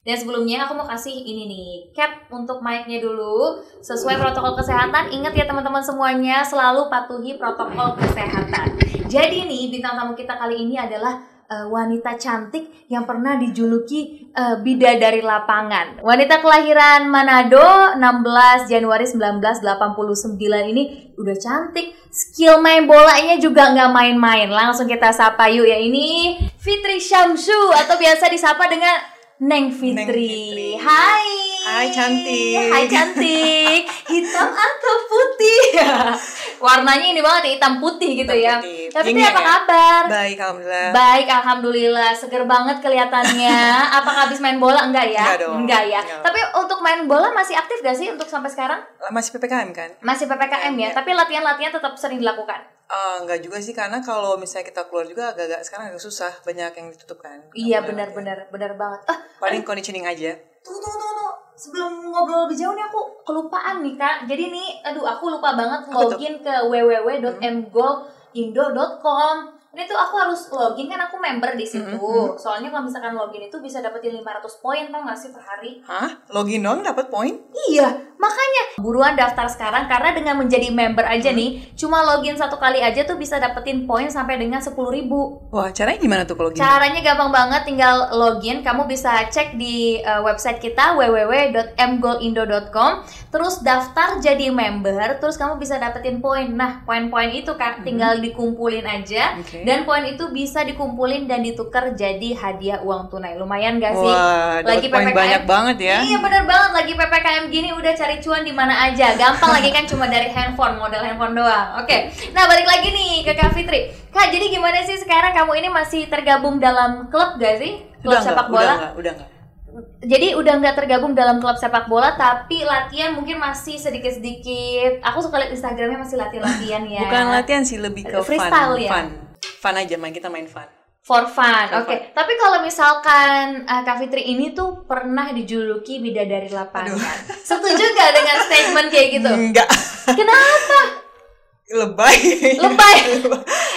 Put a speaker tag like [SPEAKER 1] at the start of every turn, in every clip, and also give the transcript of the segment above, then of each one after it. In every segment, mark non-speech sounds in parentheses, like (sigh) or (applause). [SPEAKER 1] Dan sebelumnya aku mau kasih ini nih cap untuk mic-nya dulu sesuai protokol kesehatan. Ingat ya teman-teman semuanya selalu patuhi protokol kesehatan. Jadi nih bintang tamu kita kali ini adalah eh, wanita cantik yang pernah dijuluki eh, bidadari lapangan. Wanita kelahiran Manado 16 Januari 1989 ini udah cantik, skill main bolanya juga nggak main-main. Langsung kita sapa yuk ya ini Fitri Syamsu atau biasa disapa dengan Neng Fitri.
[SPEAKER 2] Neng Fitri.
[SPEAKER 1] Hai.
[SPEAKER 2] Hai, cantik.
[SPEAKER 1] Hai
[SPEAKER 2] (laughs)
[SPEAKER 1] cantik. Hitam atau putih? Warnanya ini banget ya, hitam putih gitu ya.
[SPEAKER 2] Hitam putih.
[SPEAKER 1] Tapi Fitri
[SPEAKER 2] Yin-yang
[SPEAKER 1] apa
[SPEAKER 2] ya?
[SPEAKER 1] kabar?
[SPEAKER 2] Baik, alhamdulillah.
[SPEAKER 1] Baik, alhamdulillah. Seger banget kelihatannya.
[SPEAKER 2] (laughs)
[SPEAKER 1] Apakah habis main bola enggak ya?
[SPEAKER 2] Enggak dong.
[SPEAKER 1] ya.
[SPEAKER 2] Enggak.
[SPEAKER 1] Tapi untuk main bola masih aktif gak sih untuk sampai sekarang?
[SPEAKER 2] Masih PPKM kan?
[SPEAKER 1] Masih PPKM ya,
[SPEAKER 2] Iya.
[SPEAKER 1] tapi latihan-latihan tetap sering dilakukan.
[SPEAKER 2] Eh, enggak juga sih, karena kalau misalnya kita keluar juga agak-agak sekarang agak susah. Banyak yang ditutup kan.
[SPEAKER 1] Iya,
[SPEAKER 2] Karena-
[SPEAKER 1] benar-benar, benar banget. Ah,
[SPEAKER 2] Paling conditioning aja.
[SPEAKER 1] tunggu tunggu tunggu tunggu. sebelum ngobrol lebih jauh nih aku kelupaan nih kak jadi nih aduh aku lupa banget
[SPEAKER 2] Apa tuh?
[SPEAKER 1] login ke www.mgoldindo.com ini tuh aku harus login kan aku member di situ
[SPEAKER 2] Mhm,
[SPEAKER 1] soalnya kalau misalkan login itu bisa dapetin 500 poin tau gak sih per hari
[SPEAKER 2] Hah? Login dong dapat poin?
[SPEAKER 1] Iya, makanya buruan daftar sekarang karena dengan menjadi member aja nih, cuma login satu kali aja tuh bisa dapetin poin sampai dengan 10.000 ribu.
[SPEAKER 2] Wah, caranya gimana tuh kalau login?
[SPEAKER 1] Caranya gampang banget, tinggal login. Kamu bisa cek di uh, website kita www.mgolindo.com, terus daftar jadi member, terus kamu bisa dapetin poin. Nah, poin-poin itu kan tinggal dikumpulin aja.
[SPEAKER 2] Mm-hmm. Oke.
[SPEAKER 1] Dan poin itu bisa dikumpulin dan ditukar jadi hadiah uang tunai. Lumayan gak sih?
[SPEAKER 2] Wah, dapat
[SPEAKER 1] Lagi
[SPEAKER 2] poin
[SPEAKER 1] PPKM.
[SPEAKER 2] banyak banget ya.
[SPEAKER 1] Iya bener banget lagi PPKM gini udah cari cuan di mana aja. Gampang lagi kan cuma dari handphone, modal handphone doang. Oke. Nah, balik lagi nih ke Kak Fitri. Kak, jadi gimana sih sekarang kamu ini masih tergabung dalam klub gak sih? Klub
[SPEAKER 2] Udah
[SPEAKER 1] sepak bola.
[SPEAKER 2] enggak, udah enggak, udah enggak.
[SPEAKER 1] Jadi udah nggak tergabung dalam klub sepak bola tapi latihan mungkin masih sedikit-sedikit. Aku suka lihat Instagramnya masih
[SPEAKER 2] (laughs)
[SPEAKER 1] latihan-latihan ya.
[SPEAKER 2] Bukan latihan sih, lebih ke
[SPEAKER 1] Freestyle ya?
[SPEAKER 2] fun, fun. Fun aja, main kita main fun.
[SPEAKER 1] For fun,
[SPEAKER 2] For
[SPEAKER 1] oke. Tapi kalau misalkan uh, Kak Fitri ini tuh pernah dijuluki bidadari lapangan. Setuju gak dengan statement kayak gitu?
[SPEAKER 2] Enggak,
[SPEAKER 1] (laughs) Kenapa?
[SPEAKER 2] (laughs) lebay.
[SPEAKER 1] Lebay.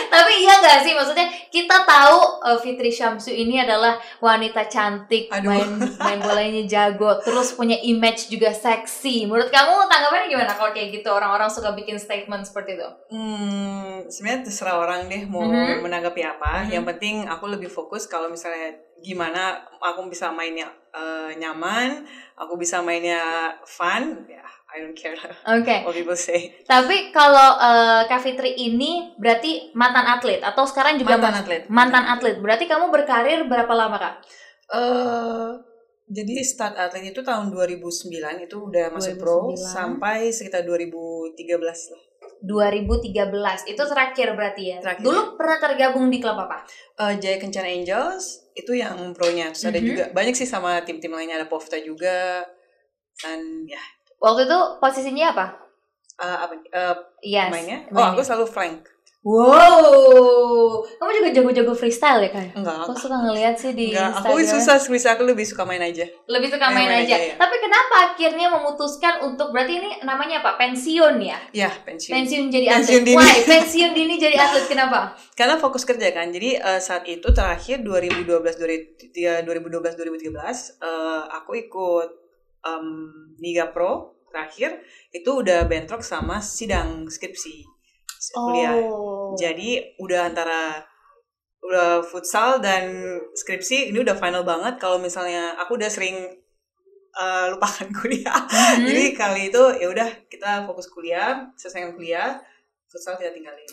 [SPEAKER 1] Tapi iya gak sih? Maksudnya kita tahu uh, Fitri Syamsu ini adalah wanita cantik,
[SPEAKER 2] Aduh.
[SPEAKER 1] main main bolanya jago, terus punya image juga seksi. Menurut kamu tanggapannya gimana kalau kayak gitu orang-orang suka bikin statement seperti itu?
[SPEAKER 2] Hmm, sebenarnya terserah orang deh mau
[SPEAKER 1] Mhm.
[SPEAKER 2] menanggapi apa.
[SPEAKER 1] Mhm.
[SPEAKER 2] Yang penting aku lebih fokus kalau misalnya gimana aku bisa mainnya eh, nyaman, aku bisa mainnya fun. Ya, I don't care (laughs)
[SPEAKER 1] Oke.
[SPEAKER 2] what people say.
[SPEAKER 1] Tapi kalau uh, Kak Fitri ini berarti mantan atlet atau sekarang juga
[SPEAKER 2] Mantan atlet.
[SPEAKER 1] mantan atlet. Berarti kamu berkarir berapa lama, Kak?
[SPEAKER 2] Eh, jadi start atlet itu tahun 2009 itu udah masuk pro
[SPEAKER 1] 2009.
[SPEAKER 2] sampai sekitar 2013 lah.
[SPEAKER 1] 2013. Itu terakhir berarti ya.
[SPEAKER 2] Terakhir.
[SPEAKER 1] Dulu pernah tergabung di klub apa?
[SPEAKER 2] Eh, Jaya Kencana Angels itu yang pro-nya. Terus ada
[SPEAKER 1] Mhm.
[SPEAKER 2] juga banyak sih sama tim-tim lainnya ada Pofta juga. Dan ya
[SPEAKER 1] Waktu itu posisinya apa?
[SPEAKER 2] eh, apa eh,
[SPEAKER 1] Yes.
[SPEAKER 2] mainnya? Oh,
[SPEAKER 1] mainnya.
[SPEAKER 2] aku selalu flank.
[SPEAKER 1] Wow. Kamu juga jago-jago freestyle ya, Kak?
[SPEAKER 2] Enggak.
[SPEAKER 1] Aku suka ngeliat sih di
[SPEAKER 2] Enggak, aku
[SPEAKER 1] Instagram.
[SPEAKER 2] susah squeeze aku lebih suka main aja.
[SPEAKER 1] Lebih suka main,
[SPEAKER 2] Main-main
[SPEAKER 1] aja.
[SPEAKER 2] aja, ya.
[SPEAKER 1] Tapi kenapa akhirnya memutuskan untuk berarti ini namanya apa? Pensiun ya?
[SPEAKER 2] Ya, pensiun.
[SPEAKER 1] Pensiun jadi atlet.
[SPEAKER 2] Pensiun dini.
[SPEAKER 1] Why? Pensiun dini jadi atlet kenapa?
[SPEAKER 2] Karena fokus kerja kan. Jadi eh, saat itu terakhir 2012 2012 2013 eh, aku ikut em, Liga Pro terakhir itu udah bentrok sama sidang skripsi (laughs) kuliah.
[SPEAKER 1] Oh.
[SPEAKER 2] Jadi udah antara udah futsal dan skripsi ini udah final banget kalau misalnya aku udah sering eh, lupakan (laughs) kuliah.
[SPEAKER 1] Hmm.
[SPEAKER 2] Jadi kali itu ya udah kita fokus kuliah, selesaikan kuliah, futsal kita tinggalin.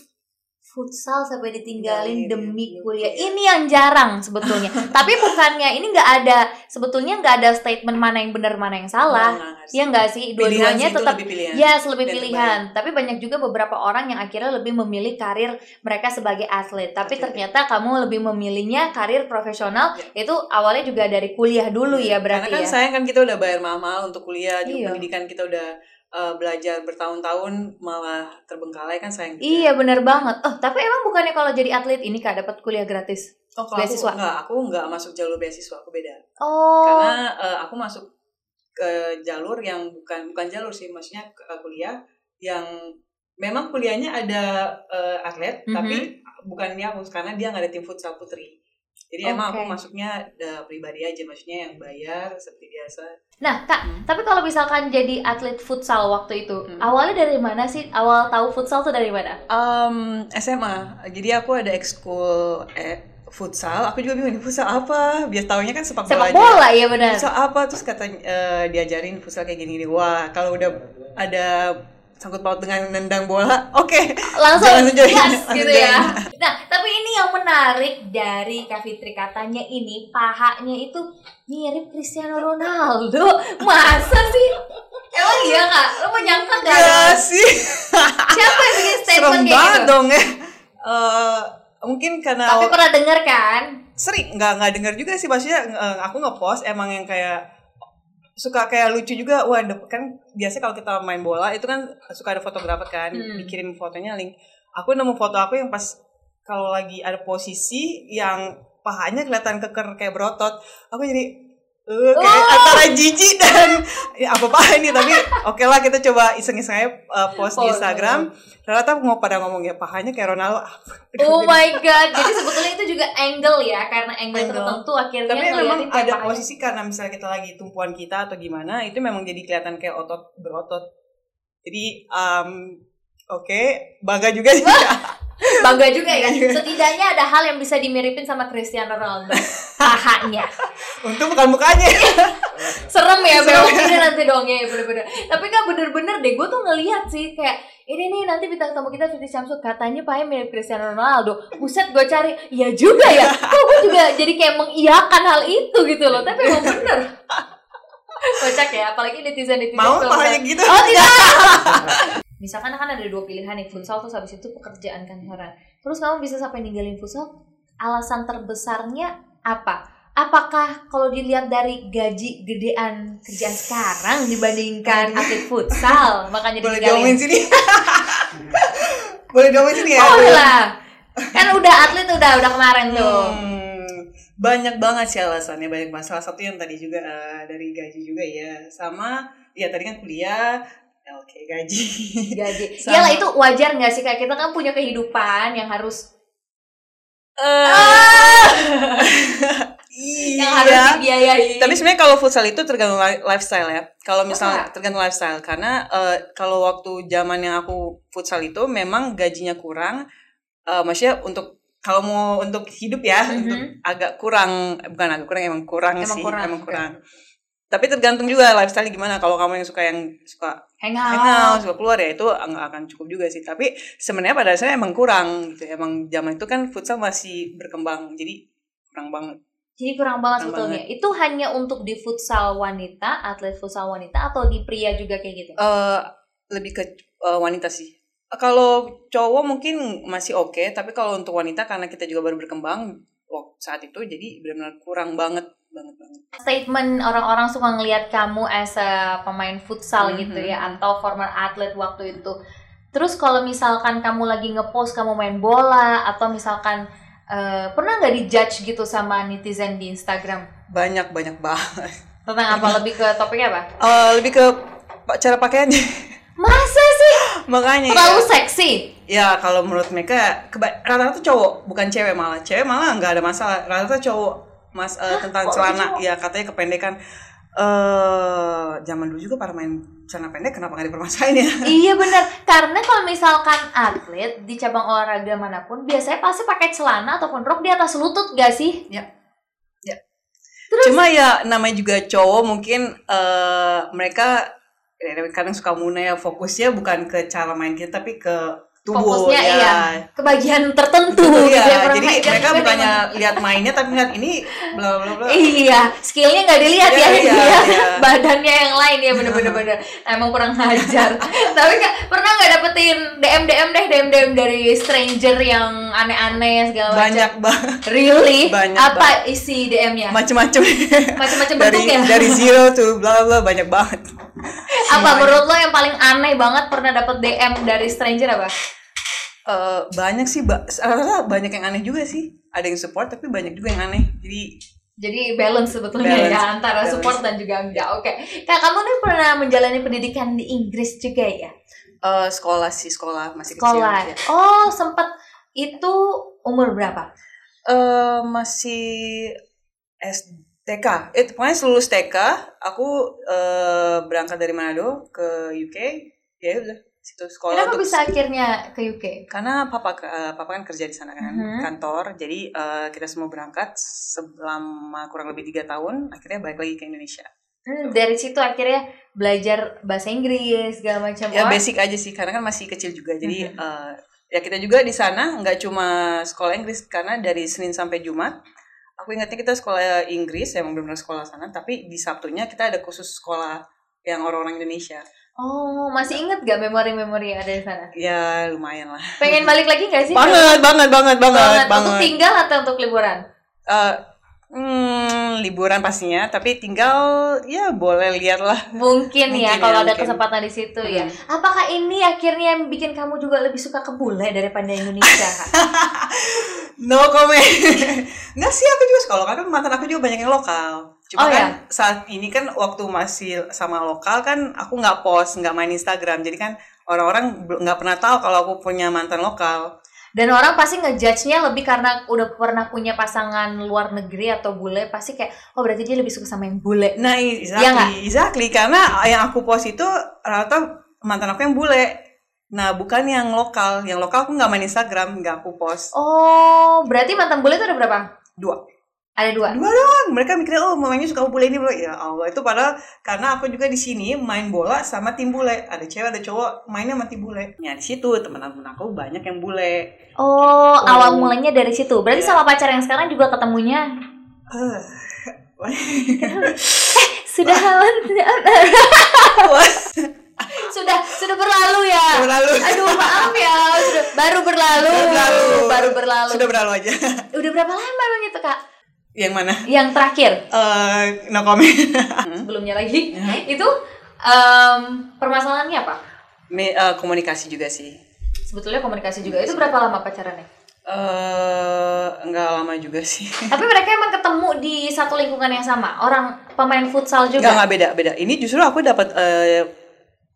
[SPEAKER 1] futsal sampai ditinggalin
[SPEAKER 2] Tinggalin,
[SPEAKER 1] demi
[SPEAKER 2] iya.
[SPEAKER 1] kuliah ini yang jarang sebetulnya
[SPEAKER 2] (laughs)
[SPEAKER 1] tapi bukannya ini nggak ada sebetulnya nggak ada statement mana yang benar mana yang salah
[SPEAKER 2] Ulangan.
[SPEAKER 1] ya nggak sih
[SPEAKER 2] Nah, Iya. Pilihan sih
[SPEAKER 1] dua-duanya
[SPEAKER 2] itu
[SPEAKER 1] tetap ya,
[SPEAKER 2] lebih pilihan.
[SPEAKER 1] Yes, lebih
[SPEAKER 2] Iya, Dan
[SPEAKER 1] pilihan. Tapi banyak juga beberapa orang yang akhirnya lebih memilih karir mereka sebagai atlet. Tapi
[SPEAKER 2] Atlet.
[SPEAKER 1] ternyata kamu lebih memilihnya karir profesional.
[SPEAKER 2] Ya.
[SPEAKER 1] Itu awalnya juga dari kuliah dulu ya
[SPEAKER 2] Karena
[SPEAKER 1] berarti
[SPEAKER 2] kan
[SPEAKER 1] ya.
[SPEAKER 2] sayang kan kita udah bayar mahal untuk kuliah, juga
[SPEAKER 1] Iya.
[SPEAKER 2] pendidikan kita udah eh, belajar bertahun-tahun malah terbengkalai kan sayang juga.
[SPEAKER 1] Iya bener banget. Oh tapi emang bukannya kalau jadi atlet ini kak dapat kuliah gratis?
[SPEAKER 2] Oh, kalau
[SPEAKER 1] beasiswa.
[SPEAKER 2] aku enggak, aku enggak masuk jalur beasiswa, aku beda.
[SPEAKER 1] Oh.
[SPEAKER 2] Karena eh, aku masuk ke jalur yang bukan bukan jalur sih, maksudnya ke- ke kuliah yang memang kuliahnya ada eh, atlet,
[SPEAKER 1] Mhm.
[SPEAKER 2] tapi bukan dia aku karena dia nggak ada tim futsal putri. Jadi emang aku
[SPEAKER 1] Oke.
[SPEAKER 2] masuknya eh, pribadi aja, maksudnya yang bayar seperti biasa.
[SPEAKER 1] Nah, Kak,
[SPEAKER 2] Hmm.
[SPEAKER 1] tapi kalau misalkan jadi atlet futsal waktu itu,
[SPEAKER 2] Hmm.
[SPEAKER 1] awalnya dari mana sih? Awal tahu futsal tuh dari mana?
[SPEAKER 2] Em, SMA, jadi aku ada ekskul eh, futsal. Aku juga bingung ini futsal apa. Biasa taunya kan sepak bola.
[SPEAKER 1] Sepak
[SPEAKER 2] aja.
[SPEAKER 1] bola ya benar.
[SPEAKER 2] Futsal apa terus katanya eh, diajarin futsal kayak gini-gini. Wah, kalau udah ada sangkut paut dengan nendang bola, oke.
[SPEAKER 1] Langsung
[SPEAKER 2] Jangan join,
[SPEAKER 1] gas
[SPEAKER 2] langsung
[SPEAKER 1] gitu
[SPEAKER 2] join.
[SPEAKER 1] ya. Nah, tapi ini yang menarik dari Kak Fitri katanya ini pahanya itu mirip Cristiano Ronaldo. Masa sih? Emang iya Kak? Lo menyangka gak?
[SPEAKER 2] Ya sih.
[SPEAKER 1] Siapa yang bikin statement
[SPEAKER 2] Serem
[SPEAKER 1] kayak
[SPEAKER 2] banget
[SPEAKER 1] gitu?
[SPEAKER 2] dong ya. Eh, mungkin karena
[SPEAKER 1] Tapi pernah dengar kan?
[SPEAKER 2] sering nggak nggak dengar juga sih maksudnya eh, aku ngepost emang yang kayak suka kayak lucu juga wah ada- kan biasa kalau kita main bola itu kan suka ada fotografer kan
[SPEAKER 1] Hmm.
[SPEAKER 2] dikirim fotonya link aku nemu foto aku yang pas kalau lagi ada posisi yang pahanya kelihatan keker kayak berotot aku jadi eh, kayak
[SPEAKER 1] Oh.
[SPEAKER 2] antara jijik dan ya, apa apa ini tapi oke lah kita coba iseng-iseng aja eh, post di
[SPEAKER 1] Post.
[SPEAKER 2] Instagram ternyata mau pada ngomong ya pahanya kayak Ronaldo (laughs)
[SPEAKER 1] Oh my god. Jadi sebetulnya itu juga angle ya karena angle,
[SPEAKER 2] Angle.
[SPEAKER 1] tertentu akhirnya
[SPEAKER 2] tapi memang
[SPEAKER 1] Iya, ngeliatin kayak
[SPEAKER 2] ada
[SPEAKER 1] pahanya.
[SPEAKER 2] posisi karena misalnya kita lagi tumpuan kita atau gimana itu memang jadi kelihatan kayak otot berotot jadi um, oke bangga juga sih
[SPEAKER 1] (laughs) Bangga juga ya.
[SPEAKER 2] Bangga juga.
[SPEAKER 1] Setidaknya ada hal yang bisa dimiripin sama Cristiano
[SPEAKER 2] (laughs)
[SPEAKER 1] Ronaldo. Pahanya.
[SPEAKER 2] untung bukan mukanya
[SPEAKER 1] Iya,
[SPEAKER 2] (laughs)
[SPEAKER 1] Serem ya
[SPEAKER 2] Serem.
[SPEAKER 1] bro. Ini nanti dong ya bener-bener. Tapi kan bener-bener deh. Gue tuh ngeliat sih kayak ini nih nanti bintang tamu kita Fitri Syamsul katanya pahanya mirip Cristiano Ronaldo. Buset gue cari. Iya juga ya. Kok gue juga jadi kayak mengiyakan hal itu gitu loh. Tapi emang bener.
[SPEAKER 2] (laughs)
[SPEAKER 1] Kocak ya. Apalagi netizen-netizen.
[SPEAKER 2] mau
[SPEAKER 1] kalau
[SPEAKER 2] pahanya gitu
[SPEAKER 1] (laughs) Oh tidak. Misalkan kan ada dua pilihan nih futsal terus habis itu pekerjaan kantoran. Terus kamu bisa sampai ninggalin futsal? Alasan terbesarnya apa? Apakah kalau dilihat dari gaji gedean kerjaan sekarang dibandingkan atlet
[SPEAKER 2] (laughs)
[SPEAKER 1] futsal makanya
[SPEAKER 2] boleh
[SPEAKER 1] ditinggalin?
[SPEAKER 2] diomongin
[SPEAKER 1] (laughs)
[SPEAKER 2] sini boleh diomongin sini ya
[SPEAKER 1] Oh lah. Kan udah atlet udah udah kemarin tuh.
[SPEAKER 2] Hmm, banyak banget sih alasannya banyak banget salah satu yang tadi juga eh, dari gaji juga ya sama ya tadi kan kuliah ya oke gaji (laughs)
[SPEAKER 1] Gaji.
[SPEAKER 2] Hmm. Sama.
[SPEAKER 1] Iyalah itu wajar nggak sih kayak kita kan punya kehidupan yang harus Eh. yang harus
[SPEAKER 2] (laughs) Iya.
[SPEAKER 1] dibiayai.
[SPEAKER 2] Tapi sebenarnya kalau futsal itu tergantung li- lifestyle ya. Kalau misalnya
[SPEAKER 1] Masa?
[SPEAKER 2] tergantung lifestyle karena eh, kalau waktu zaman yang aku futsal itu memang gajinya kurang. Eh, maksudnya untuk kalau mau untuk hidup ya
[SPEAKER 1] Mhm.
[SPEAKER 2] untuk agak kurang bukan agak kurang emang kurang
[SPEAKER 1] Emang
[SPEAKER 2] sih
[SPEAKER 1] kurang,
[SPEAKER 2] emang
[SPEAKER 1] oke.
[SPEAKER 2] kurang. Tapi tergantung juga lifestyle gimana. Kalau kamu yang suka yang suka
[SPEAKER 1] hangout.
[SPEAKER 2] hangout, suka keluar ya itu nggak akan cukup juga sih. Tapi sebenarnya pada dasarnya emang kurang gitu. Emang zaman itu kan futsal masih berkembang. Jadi kurang banget.
[SPEAKER 1] Jadi kurang banget
[SPEAKER 2] Kurang
[SPEAKER 1] sebetulnya. Itu hanya untuk di futsal wanita, atlet futsal wanita atau di pria juga kayak gitu.
[SPEAKER 2] eh lebih ke eh, wanita sih. Kalau cowok mungkin masih oke, tapi kalau untuk wanita karena kita juga baru berkembang wak- saat itu jadi benar-benar kurang banget banget banget.
[SPEAKER 1] Statement orang-orang suka ngelihat kamu as a pemain futsal
[SPEAKER 2] Mhm.
[SPEAKER 1] gitu ya atau former atlet waktu itu. Terus kalau misalkan kamu lagi ngepost kamu main bola atau misalkan eh, pernah nggak dijudge gitu sama netizen di Instagram
[SPEAKER 2] Banyak banyak banget.
[SPEAKER 1] tentang apa lebih ke topiknya apa?
[SPEAKER 2] (laughs) Eh, lebih ke pa- cara pakaiannya (laughs)
[SPEAKER 1] Masa sih
[SPEAKER 2] makanya. ya.
[SPEAKER 1] terlalu seksi?
[SPEAKER 2] Ya kalau menurut mereka keba- rata-rata cowok bukan cewek malah cewek malah nggak ada masalah rata-rata cowok mas eh, tentang
[SPEAKER 1] kok ada
[SPEAKER 2] celana
[SPEAKER 1] cowok?
[SPEAKER 2] ya katanya kependekan. eh zaman dulu juga para main celana pendek kenapa nggak dipermasalahin ya?
[SPEAKER 1] iya benar karena kalau misalkan atlet di cabang olahraga manapun biasanya pasti pakai celana ataupun rok di atas lutut gak sih
[SPEAKER 2] Cuma ya namanya juga cowok mungkin eh, mereka ya, kadang suka muna ya fokusnya bukan ke cara main kita tapi ke tubuh
[SPEAKER 1] Fokusnya,
[SPEAKER 2] ya.
[SPEAKER 1] iya. ke bagian tertentu gitu
[SPEAKER 2] Gitu,
[SPEAKER 1] ya,
[SPEAKER 2] ya.
[SPEAKER 1] kurang
[SPEAKER 2] Jadi
[SPEAKER 1] ajar
[SPEAKER 2] mereka
[SPEAKER 1] juga
[SPEAKER 2] bukannya
[SPEAKER 1] nih.
[SPEAKER 2] lihat mainnya tapi lihat ini bla bla bla.
[SPEAKER 1] iya skillnya nggak dilihat
[SPEAKER 2] Iya,
[SPEAKER 1] ya,
[SPEAKER 2] iya,
[SPEAKER 1] dia.
[SPEAKER 2] iya.
[SPEAKER 1] badannya yang lain ya bener-bener
[SPEAKER 2] (laughs)
[SPEAKER 1] bener. emang kurang ajar (laughs) tapi nggak pernah nggak dapetin dm dm deh dm dm dari stranger yang aneh-aneh segala macam
[SPEAKER 2] Banyak banget
[SPEAKER 1] really
[SPEAKER 2] Banyak
[SPEAKER 1] apa isi dm-nya
[SPEAKER 2] macam-macam
[SPEAKER 1] macam-macam
[SPEAKER 2] dari
[SPEAKER 1] bentuknya (laughs)
[SPEAKER 2] dari zero to bla bla banyak banget.
[SPEAKER 1] apa menurut lo yang paling aneh banget pernah dapet DM dari stranger apa?
[SPEAKER 2] Eh, banyak sih ba- rata-rata banyak yang aneh juga sih. Ada yang support tapi banyak juga yang aneh. Jadi
[SPEAKER 1] Jadi balance sebetulnya
[SPEAKER 2] Balance,
[SPEAKER 1] ya antara
[SPEAKER 2] balance.
[SPEAKER 1] support dan juga enggak. Oke, kak kamu nih pernah menjalani pendidikan di Inggris juga ya?
[SPEAKER 2] eh, sekolah sih sekolah masih kecil. Iya.
[SPEAKER 1] Sekolah.
[SPEAKER 2] ya.
[SPEAKER 1] Oh sempet itu umur berapa?
[SPEAKER 2] eh masih STK. Eh, pokoknya lulus TK, aku eh, berangkat dari Manado ke UK. Ya udah, situ sekolah
[SPEAKER 1] Kenapa
[SPEAKER 2] untuk-
[SPEAKER 1] bisa akhirnya ke UK?
[SPEAKER 2] karena papa ke- eh, papa kan kerja di sana kan
[SPEAKER 1] Mhm.
[SPEAKER 2] kantor jadi eh, kita semua berangkat selama kurang lebih tiga tahun akhirnya balik lagi ke Indonesia
[SPEAKER 1] Hmm, dari situ akhirnya belajar bahasa Inggris segala macam.
[SPEAKER 2] ya
[SPEAKER 1] Wah,
[SPEAKER 2] basic aja sih karena kan masih kecil juga jadi
[SPEAKER 1] Mhm.
[SPEAKER 2] eh, ya kita juga di sana nggak cuma sekolah Inggris karena dari Senin sampai Jumat aku ingatnya kita sekolah Inggris ya benar-benar sekolah sana tapi di Sabtunya kita ada khusus sekolah yang orang-orang Indonesia
[SPEAKER 1] Oh, masih inget gak memori-memori yang ada di sana?
[SPEAKER 2] ya lumayan lah
[SPEAKER 1] Pengen balik lagi gak sih?
[SPEAKER 2] banget banget banget banget
[SPEAKER 1] Untuk
[SPEAKER 2] banget
[SPEAKER 1] tinggal atau untuk liburan?
[SPEAKER 2] Eh, hmm, liburan pastinya tapi tinggal ya boleh lihat lah
[SPEAKER 1] Mungkin, ya,
[SPEAKER 2] Mungkin ya,
[SPEAKER 1] kalau ada
[SPEAKER 2] mungkin.
[SPEAKER 1] kesempatan di situ ya.
[SPEAKER 2] Mhm.
[SPEAKER 1] Apakah ini akhirnya yang bikin kamu juga lebih suka ke bule daripada Indonesia?
[SPEAKER 2] (laughs)
[SPEAKER 1] Kak?
[SPEAKER 2] No comment. (laughs) Nggak sih, aku juga suka lokal. Kan mantan aku juga banyak yang lokal. Cuma
[SPEAKER 1] Oh,
[SPEAKER 2] kan
[SPEAKER 1] ya?
[SPEAKER 2] saat ini kan waktu masih sama lokal kan aku nggak post, nggak main Instagram. Jadi kan orang-orang bel- nggak pernah tahu kalau aku punya mantan lokal.
[SPEAKER 1] Dan orang pasti ngejudge-nya lebih karena udah pernah punya pasangan luar negeri atau bule, pasti kayak, oh berarti dia lebih suka sama yang bule.
[SPEAKER 2] Nah, i- exactly,
[SPEAKER 1] Iya nggak?
[SPEAKER 2] exactly. Karena yang aku post itu rata mantan aku yang bule. Nah, bukan yang lokal. Yang lokal aku nggak main Instagram, nggak aku post.
[SPEAKER 1] Oh, berarti mantan bule itu ada berapa?
[SPEAKER 2] Dua.
[SPEAKER 1] Ada dua.
[SPEAKER 2] Dua doang. Mereka mikirnya, oh mamanya suka bule ini. Bro. Ya Allah, itu padahal karena aku juga di sini main bola sama tim bule. Ada cewek, ada cowok, mainnya sama tim bule. Ya di situ teman-teman aku banyak yang bule.
[SPEAKER 1] Oh,
[SPEAKER 2] Gitu.
[SPEAKER 1] awal mulanya dari situ. Berarti
[SPEAKER 2] Iya.
[SPEAKER 1] sama pacar yang sekarang juga ketemunya
[SPEAKER 2] Eh,
[SPEAKER 1] sudah (laughs) sudah sudah berlalu ya.
[SPEAKER 2] berlalu.
[SPEAKER 1] Aduh, maaf ya. Sudah baru berlalu.
[SPEAKER 2] Sudah berlalu.
[SPEAKER 1] (laughs) Baru berlalu.
[SPEAKER 2] Sudah berlalu aja. (laughs)
[SPEAKER 1] Udah berapa lama emang itu, Kak?
[SPEAKER 2] yang mana?
[SPEAKER 1] Yang terakhir,
[SPEAKER 2] Eh, no comment. (laughs)
[SPEAKER 1] sebelumnya lagi.
[SPEAKER 2] Ya.
[SPEAKER 1] Itu em, permasalahannya apa?
[SPEAKER 2] Me- eh, komunikasi juga sih.
[SPEAKER 1] Sebetulnya komunikasi juga. Itu berapa lama pacarannya?
[SPEAKER 2] Eh, nggak lama juga sih.
[SPEAKER 1] Tapi mereka emang ketemu di satu lingkungan yang sama. Orang pemain futsal
[SPEAKER 2] Nggak
[SPEAKER 1] juga.
[SPEAKER 2] nggak beda beda. Ini justru aku dapat eh,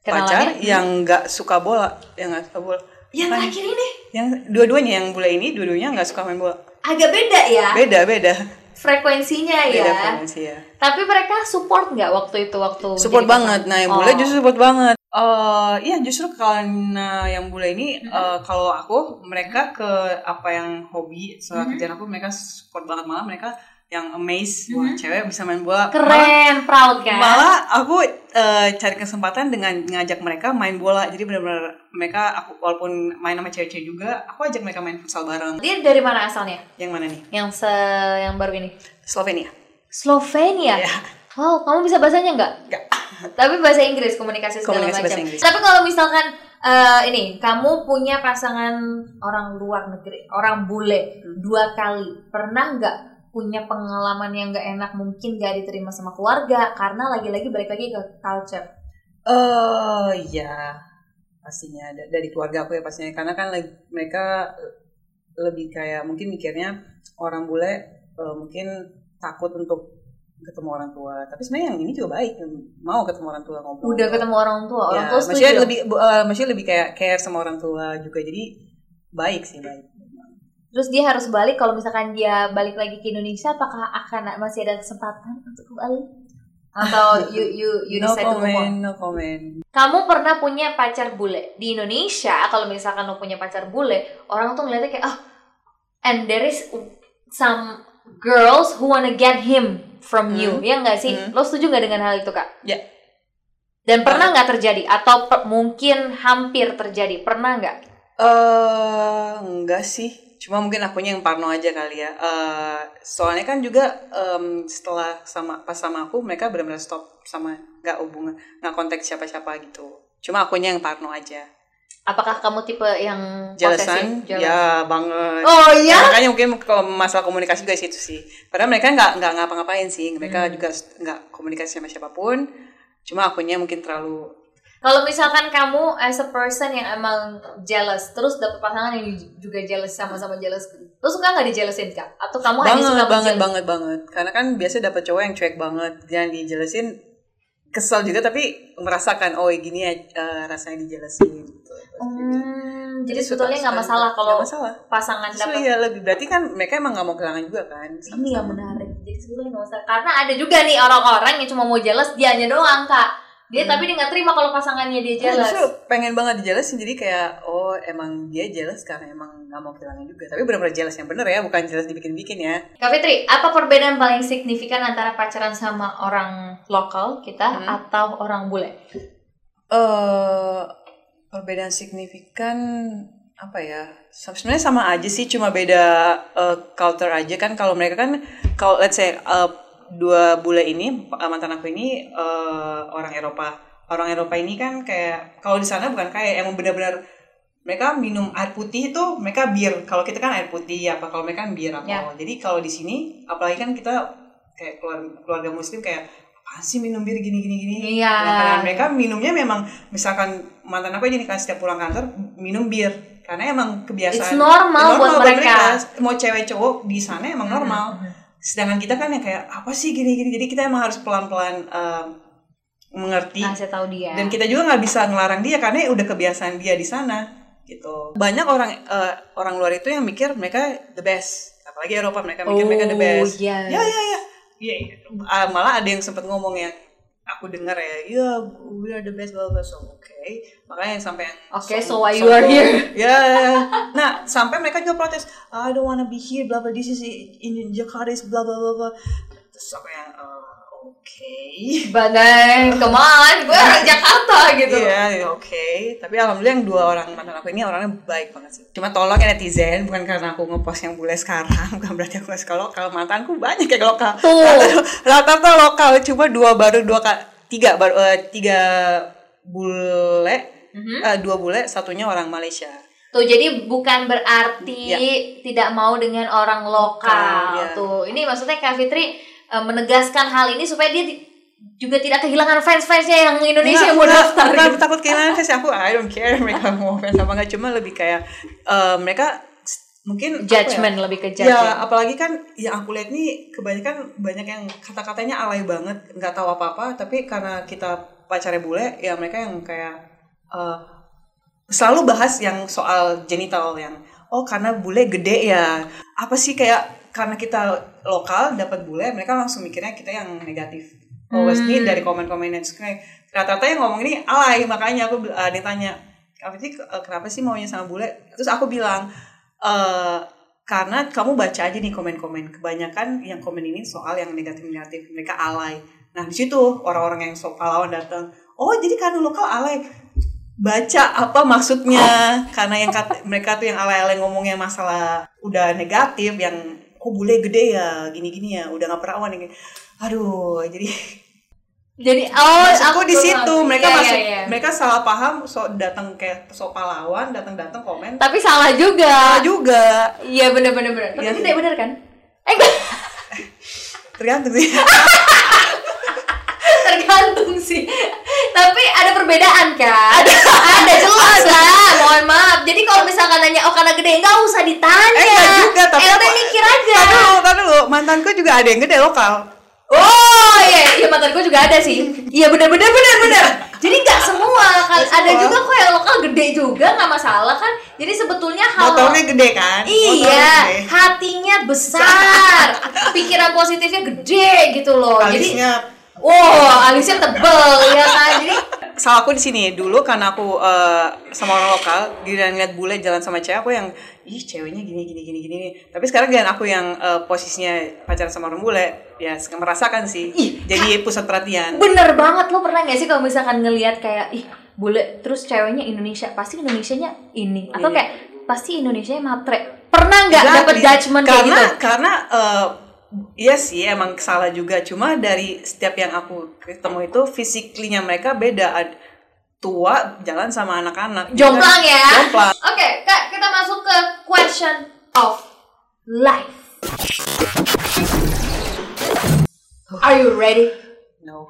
[SPEAKER 2] pacar
[SPEAKER 1] Kenalannya?
[SPEAKER 2] yang nggak suka bola, yang nggak suka bola.
[SPEAKER 1] Yang
[SPEAKER 2] Makanya-
[SPEAKER 1] terakhir ini
[SPEAKER 2] yang dua-duanya yang bule ini dua-duanya nggak suka main bola
[SPEAKER 1] agak beda ya
[SPEAKER 2] beda beda
[SPEAKER 1] frekuensinya
[SPEAKER 2] beda
[SPEAKER 1] ya.
[SPEAKER 2] frekuensi ya
[SPEAKER 1] Tapi mereka support nggak waktu itu waktu
[SPEAKER 2] support
[SPEAKER 1] jadi
[SPEAKER 2] banget
[SPEAKER 1] pasangan?
[SPEAKER 2] nah yang
[SPEAKER 1] Oh.
[SPEAKER 2] bule justru support banget Eh, iya justru karena yang bule ini
[SPEAKER 1] Mm-hmm.
[SPEAKER 2] eh, kalau aku mereka ke apa yang hobi soal
[SPEAKER 1] Mm-hmm.
[SPEAKER 2] kerjaan aku mereka support banget malah mereka yang amazed wah cewek bisa main bola Malah-
[SPEAKER 1] Mm-hmm. keren, proud kan?
[SPEAKER 2] malah aku eh, cari kesempatan dengan ngajak mereka main bola jadi benar-benar mereka aku walaupun main sama cewek-cewek juga aku ajak mereka main futsal bareng
[SPEAKER 1] Dia dari mana asalnya?
[SPEAKER 2] yang mana nih
[SPEAKER 1] Yang se yang baru ini?
[SPEAKER 2] Slovenia
[SPEAKER 1] Slovenia.
[SPEAKER 2] Iya.
[SPEAKER 1] Wow, kamu bisa bahasanya nggak?
[SPEAKER 2] Nggak.
[SPEAKER 1] Tapi bahasa Inggris komunikasi segala
[SPEAKER 2] Komunikasi bahasa
[SPEAKER 1] macam.
[SPEAKER 2] Inggris.
[SPEAKER 1] Tapi kalau misalkan eh, ini kamu punya pasangan orang luar negeri, orang bule
[SPEAKER 2] Hmm.
[SPEAKER 1] dua kali, pernah nggak punya pengalaman yang nggak enak mungkin gak diterima sama keluarga karena lagi-lagi balik lagi ke culture.
[SPEAKER 2] Oh iya, pastinya da- dari keluarga aku ya pastinya karena kan leg- mereka eh, lebih kayak mungkin mikirnya orang bule eh, mungkin takut untuk ketemu orang tua. Tapi sebenarnya yang ini juga baik mau ketemu orang tua ngobrol.
[SPEAKER 1] Udah ketemu orang tua, orang
[SPEAKER 2] Ya,
[SPEAKER 1] tua
[SPEAKER 2] maksudnya
[SPEAKER 1] setuju.
[SPEAKER 2] lebih bu- eh, maksudnya lebih kayak care sama orang tua juga jadi baik sih baik.
[SPEAKER 1] Terus dia harus balik kalau misalkan dia balik lagi ke Indonesia apakah akan masih ada kesempatan untuk
[SPEAKER 2] (laughs)
[SPEAKER 1] kembali? Atau you you you
[SPEAKER 2] no
[SPEAKER 1] decide to move on?
[SPEAKER 2] comment, no comment.
[SPEAKER 1] Kamu pernah punya pacar bule di Indonesia? Kalau misalkan lo punya pacar bule, orang tuh ngeliatnya kayak oh, and there is some girls who wanna get him from you, ya nggak sih?
[SPEAKER 2] Hmm.
[SPEAKER 1] Lo setuju nggak dengan hal itu kak?
[SPEAKER 2] Ya.
[SPEAKER 1] Dan pernah nggak terjadi? Atau per- mungkin hampir terjadi? Pernah nggak?
[SPEAKER 2] eh enggak sih, cuma mungkin akunya yang parno aja kali ya. Eh soalnya kan juga em, setelah sama pas sama aku mereka benar-benar stop sama nggak hubungan, nggak kontak siapa-siapa gitu. Cuma akunya yang parno aja.
[SPEAKER 1] Apakah kamu tipe yang
[SPEAKER 2] Jelasan,
[SPEAKER 1] posesif? Jealous?
[SPEAKER 2] ya banget.
[SPEAKER 1] Oh iya.
[SPEAKER 2] Makanya mungkin kalau masalah komunikasi juga di situ sih. Padahal mereka nggak nggak ngapa-ngapain sih,
[SPEAKER 1] Hmm.
[SPEAKER 2] mereka juga s- nggak komunikasi sama siapapun. Cuma akunya mungkin terlalu
[SPEAKER 1] Kalau misalkan kamu as a person yang emang jealous, terus dapet pasangan yang juga jealous sama-sama jealous, lo suka nggak dijelesin kak? Atau kamu hanya
[SPEAKER 2] banget
[SPEAKER 1] suka
[SPEAKER 2] banget
[SPEAKER 1] menjel-
[SPEAKER 2] banget banget karena kan biasa dapat cowok yang cuek banget jangan dijelasin kesel juga tapi merasakan oh gini ya eh, rasanya dijelasin gitu.
[SPEAKER 1] Hmm, jadi
[SPEAKER 2] Itu
[SPEAKER 1] sebetulnya nggak
[SPEAKER 2] substansi.
[SPEAKER 1] masalah
[SPEAKER 2] Nggak
[SPEAKER 1] kalau
[SPEAKER 2] masalah
[SPEAKER 1] pasangan
[SPEAKER 2] justru
[SPEAKER 1] dapat
[SPEAKER 2] ya lebih berarti kan mereka emang nggak mau kehilangan juga kan
[SPEAKER 1] ini yang menarik. Jadi sebetulnya nggak masalah. Karena ada juga nih orang-orang yang cuma mau jelas dianya doang kak. Dia
[SPEAKER 2] Hmm. Iya,
[SPEAKER 1] tapi dia nggak terima kalau pasangannya dia jelas.
[SPEAKER 2] justru pengen banget dijelasin jadi kayak oh emang dia jelas karena emang nggak mau kehilangan juga tapi benar-benar jelas yang bener ya bukan jelas dibikin-bikin ya
[SPEAKER 1] Kak Fitri, apa perbedaan paling signifikan antara pacaran sama orang lokal kita
[SPEAKER 2] Hmm.
[SPEAKER 1] atau orang bule?
[SPEAKER 2] eh perbedaan signifikan apa ya? Sa- Sebenarnya sama aja sih, cuma beda eh, culture aja kan. Kalau mereka kan, kalau let's say eh, dua bule ini eh, mantan aku ini eh, orang Eropa. Orang Eropa ini kan kayak kalau di sana bukan kayak emang benar-benar mereka minum air putih itu mereka bir. Kalau kita kan air putih apa kalau mereka kan bir apa.
[SPEAKER 1] Ya.
[SPEAKER 2] Jadi kalau di sini apalagi kan kita kayak keluarga, keluarga muslim kayak apa sih minum bir gini gini gini.
[SPEAKER 1] Iya.
[SPEAKER 2] Makanan mereka minumnya memang misalkan mantan aku ini kan setiap pulang kantor minum bir karena emang
[SPEAKER 1] It's
[SPEAKER 2] kebiasaan Ya
[SPEAKER 1] normal, buat mereka.
[SPEAKER 2] mau cewek cowok di sana emang normal
[SPEAKER 1] Nah,
[SPEAKER 2] sedangkan kita kan yang kayak apa sih gini gini jadi kita emang harus pelan pelan mengerti
[SPEAKER 1] Nah, saya tahu dia.
[SPEAKER 2] dan kita juga nggak bisa ngelarang dia karena ya udah kebiasaan dia di sana gitu banyak orang eh, orang luar itu yang mikir mereka the best apalagi Eropa mereka mikir mereka the best
[SPEAKER 1] iya.
[SPEAKER 2] ya ya ya ya ya. Ah, malah ada yang sempat ngomong ya aku dengar ya ya we are the best blah blah, blah." so oke makanya sampai yang
[SPEAKER 1] Oke, so
[SPEAKER 2] so-
[SPEAKER 1] why you
[SPEAKER 2] sombong.
[SPEAKER 1] are here?
[SPEAKER 2] (laughs) ya ya, ya. nah sampai mereka juga protes I don't wanna be here blah blah this is in Jakarta is blah blah blah blah terus aku yang "Eh, oke
[SPEAKER 1] Badai, kemana? Gue
[SPEAKER 2] (laughs)
[SPEAKER 1] orang Jakarta gitu.
[SPEAKER 2] Iya, iya, oke. Tapi alhamdulillah yang dua orang mantan aku ini orangnya baik banget sih. Cuma tolong ya netizen, bukan karena aku ngepost yang bule sekarang, (laughs) bukan berarti aku nggak suka lokal. Mantanku banyak yang lokal.
[SPEAKER 1] Tuh.
[SPEAKER 2] Rata- (laughs) Rata-rata lokal, cuma dua baru dua ka- tiga baru eh, tiga bule,
[SPEAKER 1] Mhm.
[SPEAKER 2] eh, dua bule, satunya orang Malaysia.
[SPEAKER 1] Tuh jadi bukan berarti
[SPEAKER 2] Ya.
[SPEAKER 1] tidak mau dengan orang lokal.
[SPEAKER 2] Lokal, ya.
[SPEAKER 1] Tuh ini maksudnya Kak Fitri eh, menegaskan hal ini supaya dia ti- juga tidak kehilangan fans-fansnya yang Indonesia yang mau
[SPEAKER 2] Nggak,
[SPEAKER 1] daftar.
[SPEAKER 2] nggak,
[SPEAKER 1] gitu.
[SPEAKER 2] takut kehilangan fans aku I don't care mereka mau fans apa nggak cuma lebih kayak eh, mereka s- mungkin apa ya,
[SPEAKER 1] (laughs) Judgment lebih ke judgment.
[SPEAKER 2] Ya, apalagi kan yang aku lihat nih kebanyakan banyak yang kata-katanya alay banget, nggak tahu apa-apa, tapi karena kita pacarnya bule, ya mereka yang kayak eh, selalu bahas yang soal genital yang oh karena bule gede ya. Apa sih kayak karena kita lokal dapat bule, mereka langsung mikirnya kita yang negatif. Oh, Wes, nih dari komen-komen yang suka, rata-rata yang ngomong ini alay, makanya aku eh, dia tanya, "Kak Fitri, eh, kenapa sih maunya sama bule?" Terus aku bilang, eh karena kamu baca aja nih komen-komen kebanyakan yang komen ini soal yang negatif-negatif mereka alay nah di situ orang-orang yang sok pahlawan datang oh jadi karena lokal alay baca apa maksudnya karena yang kat- mereka tuh yang alay-alay ngomongnya masalah udah negatif yang oh bule gede ya gini-gini ya udah nggak perawan ya gini." aduh jadi
[SPEAKER 1] Jadi (laughs) oh
[SPEAKER 2] maksudku di
[SPEAKER 1] tuh
[SPEAKER 2] situ
[SPEAKER 1] ngerti.
[SPEAKER 2] mereka
[SPEAKER 1] Iya,
[SPEAKER 2] masuk
[SPEAKER 1] iya, iya.
[SPEAKER 2] mereka salah paham sok datang kayak sok pahlawan datang-datang komen
[SPEAKER 1] Tapi salah juga.
[SPEAKER 2] Salah juga
[SPEAKER 1] Iya bener-bener bener. Tapi
[SPEAKER 2] Iya
[SPEAKER 1] ini
[SPEAKER 2] sih.
[SPEAKER 1] tidak bener kan? Eh enggak.
[SPEAKER 2] tergantung
[SPEAKER 1] (laughs)
[SPEAKER 2] sih Eh,
[SPEAKER 1] tergantung sih. Tapi ada perbedaan kan? Ada, ada jelas lah. Mohon maaf. Jadi kalau misalkan nanya oh karena gede nggak usah ditanya.
[SPEAKER 2] Eh, nggak juga, tapi-
[SPEAKER 1] Eh, udah mikir aja.
[SPEAKER 2] Tahan dulu, tahan dulu. Mantanku juga ada yang gede lokal.
[SPEAKER 1] Oh iya, iya mantan gue juga ada sih. Iya benar benar benar benar. Jadi nggak semua kan
[SPEAKER 2] Nggak
[SPEAKER 1] ada
[SPEAKER 2] semua.
[SPEAKER 1] juga kok yang lokal gede juga nggak masalah kan. Jadi sebetulnya hal
[SPEAKER 2] Motornya gede kan? Motornya gede.
[SPEAKER 1] Iya, hatinya besar, pikiran positifnya gede gitu loh.
[SPEAKER 2] Alisnya
[SPEAKER 1] Jadi, wow, alisnya tebel ya kan. Jadi
[SPEAKER 2] salah aku di sini dulu karena aku eh, sama orang lokal giliran ngeliat bule jalan sama cewek aku yang ih ceweknya gini gini gini gini tapi sekarang giliran aku yang eh, posisinya pacaran sama orang bule ya se- merasakan sih
[SPEAKER 1] Ih,
[SPEAKER 2] jadi pusat perhatian
[SPEAKER 1] Bener banget lo pernah gak sih kalau misalkan ngelihat kayak ih bule terus ceweknya Indonesia pasti Indonesianya ini atau
[SPEAKER 2] Iya.
[SPEAKER 1] kayak pasti Indonesia matre pernah nggak
[SPEAKER 2] Exactly.
[SPEAKER 1] dapet judgement kayak
[SPEAKER 2] karena
[SPEAKER 1] gitu
[SPEAKER 2] karena eh, iya sih emang salah juga cuma dari setiap yang aku ketemu itu fisiklinya mereka beda Ad- tua jalan sama anak-anak
[SPEAKER 1] jomplang
[SPEAKER 2] Kan-
[SPEAKER 1] ya oke
[SPEAKER 2] jomplang
[SPEAKER 1] kak kita masuk ke question of life are you ready
[SPEAKER 2] no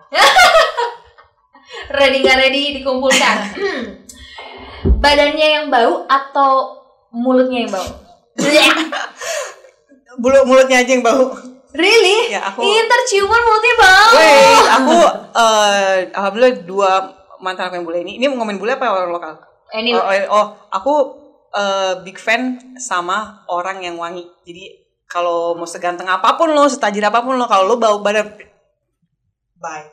[SPEAKER 1] ready nggak ready dikumpulkan Hmm. badannya yang bau atau mulutnya yang bau
[SPEAKER 2] Bulu- mulutnya aja yang bau
[SPEAKER 1] really
[SPEAKER 2] Ya, aku-
[SPEAKER 1] Ih, ntar ciuman mulutnya bau
[SPEAKER 2] (laughs) Wait, aku eh alhamdulillah dua mantan aku yang bule ini. Ini mau ngomongin bule apa orang lokal?
[SPEAKER 1] Anyway,
[SPEAKER 2] Oh, oh, oh, aku eh, big fan sama orang yang wangi. Jadi kalau mau seganteng apapun lo, setajir apapun lo, kalau lo bau badan, bye.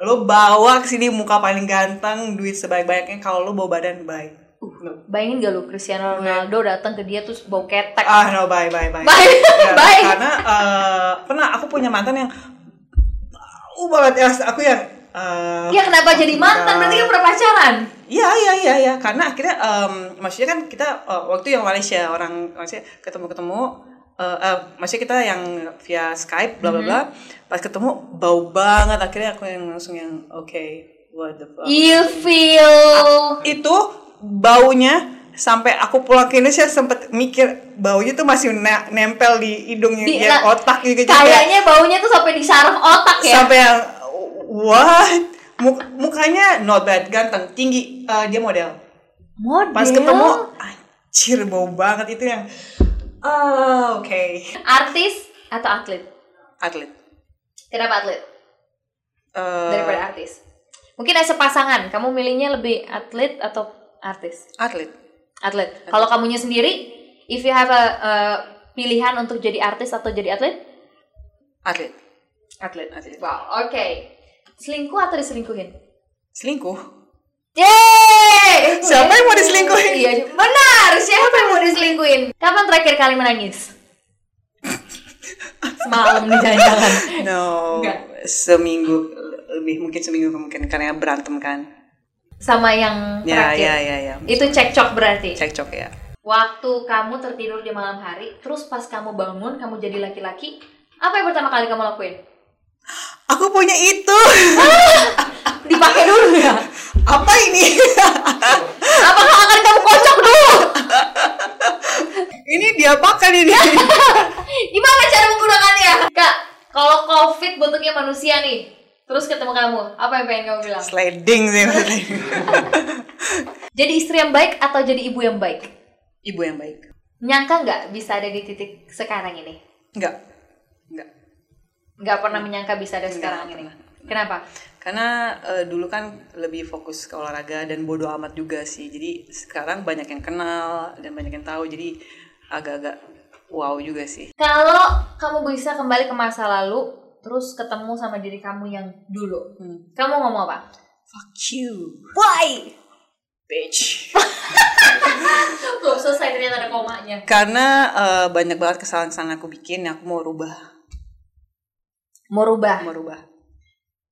[SPEAKER 2] Lo bawa ke sini muka paling ganteng, duit sebaik-baiknya. Kalau lo bau badan, bye. No.
[SPEAKER 1] bayangin gak lu Cristiano Ronaldo datang ke dia terus bau ketek. (laughs)
[SPEAKER 2] Ah no, bye bye (laughs) bye.
[SPEAKER 1] Bye.
[SPEAKER 2] Ya,
[SPEAKER 1] Bye.
[SPEAKER 2] Karena eh, pernah aku punya mantan yang bau banget ya. Aku yang eh,
[SPEAKER 1] ya kenapa jadi mantan? Berarti kan pernah pacaran.
[SPEAKER 2] Iya iya iya iya karena akhirnya em, maksudnya kan kita eh, waktu yang Malaysia orang maksudnya ketemu-ketemu eh, eh, maksudnya kita yang via Skype bla bla bla
[SPEAKER 1] Mm-hmm.
[SPEAKER 2] pas ketemu bau banget akhirnya aku yang langsung yang oke what the fuck
[SPEAKER 1] You feel
[SPEAKER 2] itu baunya sampai aku pulang ke Indonesia sempet mikir baunya tuh masih na- nempel di hidungnya
[SPEAKER 1] Di-
[SPEAKER 2] yang
[SPEAKER 1] nah,
[SPEAKER 2] otak gitu
[SPEAKER 1] kayaknya baunya tuh sampai di saraf otak ya.
[SPEAKER 2] sampai yang what Muk- mukanya not bad ganteng tinggi eh, dia model
[SPEAKER 1] Model.
[SPEAKER 2] pas ketemu anjir bau banget itu yang ah, oke
[SPEAKER 1] artis atau atlet?
[SPEAKER 2] atlet
[SPEAKER 1] Kenapa atlet
[SPEAKER 2] Eh,
[SPEAKER 1] daripada artis? Mungkin ada pasangan, kamu milihnya lebih atlet atau artis?
[SPEAKER 2] atlet
[SPEAKER 1] Atlet. Kalau kamunya sendiri, if you have a uh, pilihan untuk jadi artis atau jadi atlet?
[SPEAKER 2] atlet
[SPEAKER 1] Atlet.
[SPEAKER 2] Atlet.
[SPEAKER 1] Wow, oke. Selingkuh atau diselingkuhin?
[SPEAKER 2] selingkuh
[SPEAKER 1] Yeay!
[SPEAKER 2] Siapa yang mau diselingkuhin?
[SPEAKER 1] Iya, benar. Siapa yang mau diselingkuhin? Kapan terakhir kali
[SPEAKER 2] (laughs)
[SPEAKER 1] menangis? Semalam di jalan-jalan.
[SPEAKER 2] (laughs) no
[SPEAKER 1] Enggak.
[SPEAKER 2] seminggu lebih mungkin seminggu mungkin karena berantem kan
[SPEAKER 1] Sama yang
[SPEAKER 2] ya
[SPEAKER 1] terakhir.
[SPEAKER 2] ya ya ya
[SPEAKER 1] Itu cekcok berarti.
[SPEAKER 2] cekcok ya
[SPEAKER 1] Waktu kamu tertidur di malam hari, terus pas kamu bangun, kamu jadi laki-laki, apa yang pertama kali kamu
[SPEAKER 2] (laughs)
[SPEAKER 1] lakuin?
[SPEAKER 2] aku punya itu
[SPEAKER 1] Dipakai dulu ya?
[SPEAKER 2] (laughs) apa ini (laughs)
[SPEAKER 1] Apakah akan kamu kocok dulu?
[SPEAKER 2] ini dia pakai
[SPEAKER 1] (laughs)
[SPEAKER 2] ini
[SPEAKER 1] Gimana cara menggunakannya? Kak, kalau COVID bentuknya manusia nih, terus ketemu kamu, apa yang pengen kamu bilang?
[SPEAKER 2] sliding sih maksudnya.
[SPEAKER 1] Jadi istri yang baik atau jadi ibu yang baik?
[SPEAKER 2] ibu yang baik
[SPEAKER 1] Nyangka nggak bisa ada di titik sekarang ini?
[SPEAKER 2] enggak enggak
[SPEAKER 1] Nggak pernah menyangka bisa ada sekarang ini.
[SPEAKER 2] pernah.
[SPEAKER 1] Kenapa?
[SPEAKER 2] Karena eh, dulu kan lebih fokus ke olahraga dan bodo amat juga sih. Jadi sekarang banyak yang kenal dan banyak yang tahu. Jadi agak-agak wow juga sih.
[SPEAKER 1] Kalau kamu bisa kembali ke masa lalu, terus ketemu sama diri kamu yang dulu,
[SPEAKER 2] Hmm.
[SPEAKER 1] kamu ngomong apa?
[SPEAKER 2] Fuck you,
[SPEAKER 1] Why?
[SPEAKER 2] bitch.
[SPEAKER 1] Belum selesai ternyata ada komanya.
[SPEAKER 2] (laughs) Karena eh, banyak banget kesalahan-kesalahan aku bikin yang aku mau rubah,
[SPEAKER 1] Mau
[SPEAKER 2] Aku
[SPEAKER 1] rubah.
[SPEAKER 2] mau rubah.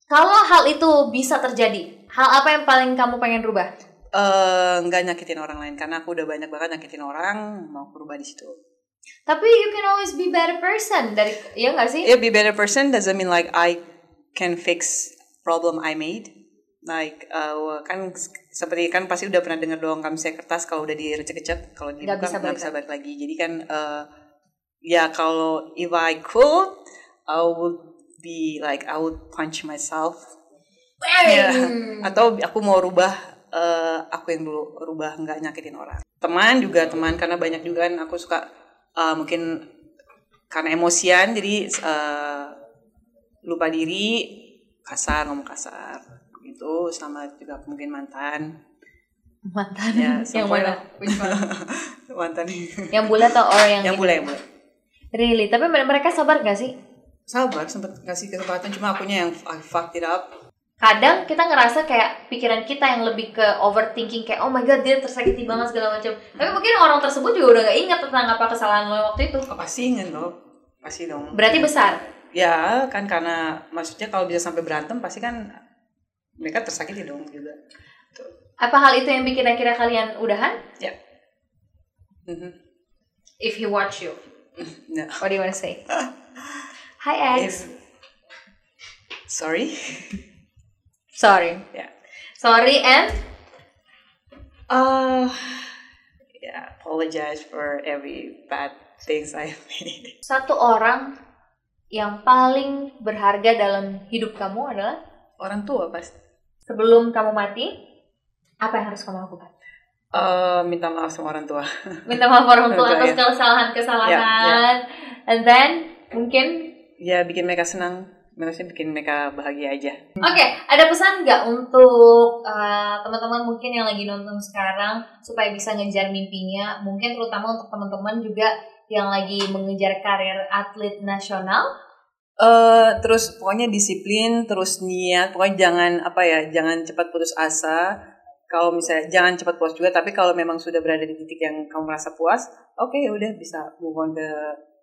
[SPEAKER 1] Kalau hal itu bisa terjadi, hal apa yang paling kamu pengen rubah?
[SPEAKER 2] Eh, nggak nyakitin orang lain karena aku udah banyak banget nyakitin orang mau aku rubah di situ.
[SPEAKER 1] Tapi you can always be better person dari ya nggak sih?
[SPEAKER 2] Yeah, be better person doesn't mean like I can fix problem I made. Like uh, kan s- seperti kan pasti udah pernah dengar doang kamu saya kertas kalau udah direcek-recek kalau dibuka
[SPEAKER 1] Nggak bisa
[SPEAKER 2] nggak
[SPEAKER 1] balik
[SPEAKER 2] bisa balik lagi. Jadi kan uh, ya kalau if I could I would be like I would punch myself. Ya.
[SPEAKER 1] Hmm.
[SPEAKER 2] Atau aku mau rubah eh, aku yang dulu rubah nggak nyakitin orang. Teman juga teman karena banyak juga kan aku suka eh, mungkin karena emosian jadi eh, lupa diri kasar ngomong kasar gitu sama juga mungkin mantan
[SPEAKER 1] Mantan
[SPEAKER 2] Ya,
[SPEAKER 1] yang
[SPEAKER 2] somewhere.
[SPEAKER 1] mana? Which
[SPEAKER 2] (laughs)
[SPEAKER 1] one?
[SPEAKER 2] mantan Ya,
[SPEAKER 1] yang bule atau orang yang,
[SPEAKER 2] yang
[SPEAKER 1] ini?
[SPEAKER 2] bule yang bule
[SPEAKER 1] Really, tapi mere- mereka sabar gak sih?
[SPEAKER 2] sabar sempet kasih kesempatan cuma akunya yang I fucked it up
[SPEAKER 1] Kadang kita ngerasa kayak pikiran kita yang lebih ke overthinking kayak oh my god dia tersakiti banget segala macam. Tapi mungkin orang tersebut juga udah gak ingat tentang apa kesalahan lo waktu itu.
[SPEAKER 2] apa sih ingin lo pasti dong
[SPEAKER 1] Berarti besar.
[SPEAKER 2] ya kan karena maksudnya kalau bisa sampai berantem pasti kan mereka tersakiti dong juga
[SPEAKER 1] Apa hal itu yang bikin akhirnya kalian udahan?
[SPEAKER 2] ya Mhm.
[SPEAKER 1] If he watch you,
[SPEAKER 2] Nah,
[SPEAKER 1] what do you wanna
[SPEAKER 2] (laughs)
[SPEAKER 1] say? Hi ex,
[SPEAKER 2] if- sorry
[SPEAKER 1] sorry,
[SPEAKER 2] ya
[SPEAKER 1] sorry and
[SPEAKER 2] Uh, yeah, Ya, apologize for every bad things I made.
[SPEAKER 1] satu orang yang paling berharga dalam hidup kamu adalah
[SPEAKER 2] Orang tua pasti.
[SPEAKER 1] sebelum kamu mati apa yang harus kamu lakukan?
[SPEAKER 2] Uh, minta maaf sama orang tua.
[SPEAKER 1] Minta maaf orang tua
[SPEAKER 2] Orang tua,
[SPEAKER 1] atas
[SPEAKER 2] ya.
[SPEAKER 1] kesalahan-kesalahan,
[SPEAKER 2] Ya, ya.
[SPEAKER 1] and then mungkin
[SPEAKER 2] ya bikin mereka senang. Maksudnya bikin mereka bahagia aja.
[SPEAKER 1] Oke, ada pesan nggak untuk eh, teman-teman mungkin yang lagi nonton sekarang supaya bisa ngejar mimpinya? Mungkin terutama untuk teman-teman juga yang lagi mengejar karir atlet nasional.
[SPEAKER 2] eh terus pokoknya disiplin, terus niat, pokoknya jangan apa ya, jangan cepat putus asa. Kalau misalnya jangan cepat puas juga, tapi kalau memang sudah berada di titik yang kamu merasa puas, oke ya udah bisa move on ke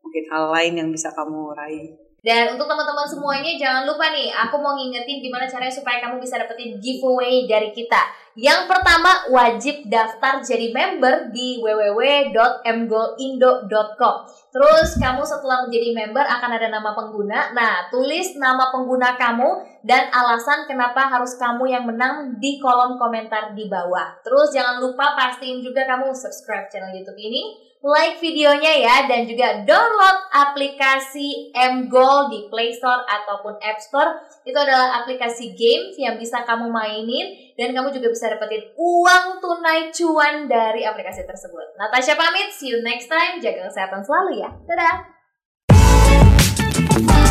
[SPEAKER 2] mungkin hal lain yang bisa kamu raih.
[SPEAKER 1] Dan untuk teman-teman semuanya jangan lupa nih, aku mau ngingetin gimana caranya supaya kamu bisa dapetin giveaway dari kita. Yang pertama, wajib daftar jadi member di www.mgoindo.com. Terus kamu setelah menjadi member akan ada nama pengguna. Nah, tulis nama pengguna kamu dan alasan kenapa harus kamu yang menang di kolom komentar di bawah. Terus jangan lupa pastiin juga kamu subscribe channel YouTube ini, like videonya ya, dan juga download aplikasi MGOL di Play Store ataupun App Store. Itu adalah aplikasi games yang bisa kamu mainin dan kamu juga bisa dapetin uang tunai cuan dari aplikasi tersebut. Natasha pamit, see you next time. Jaga kesehatan selalu ya. Dadah!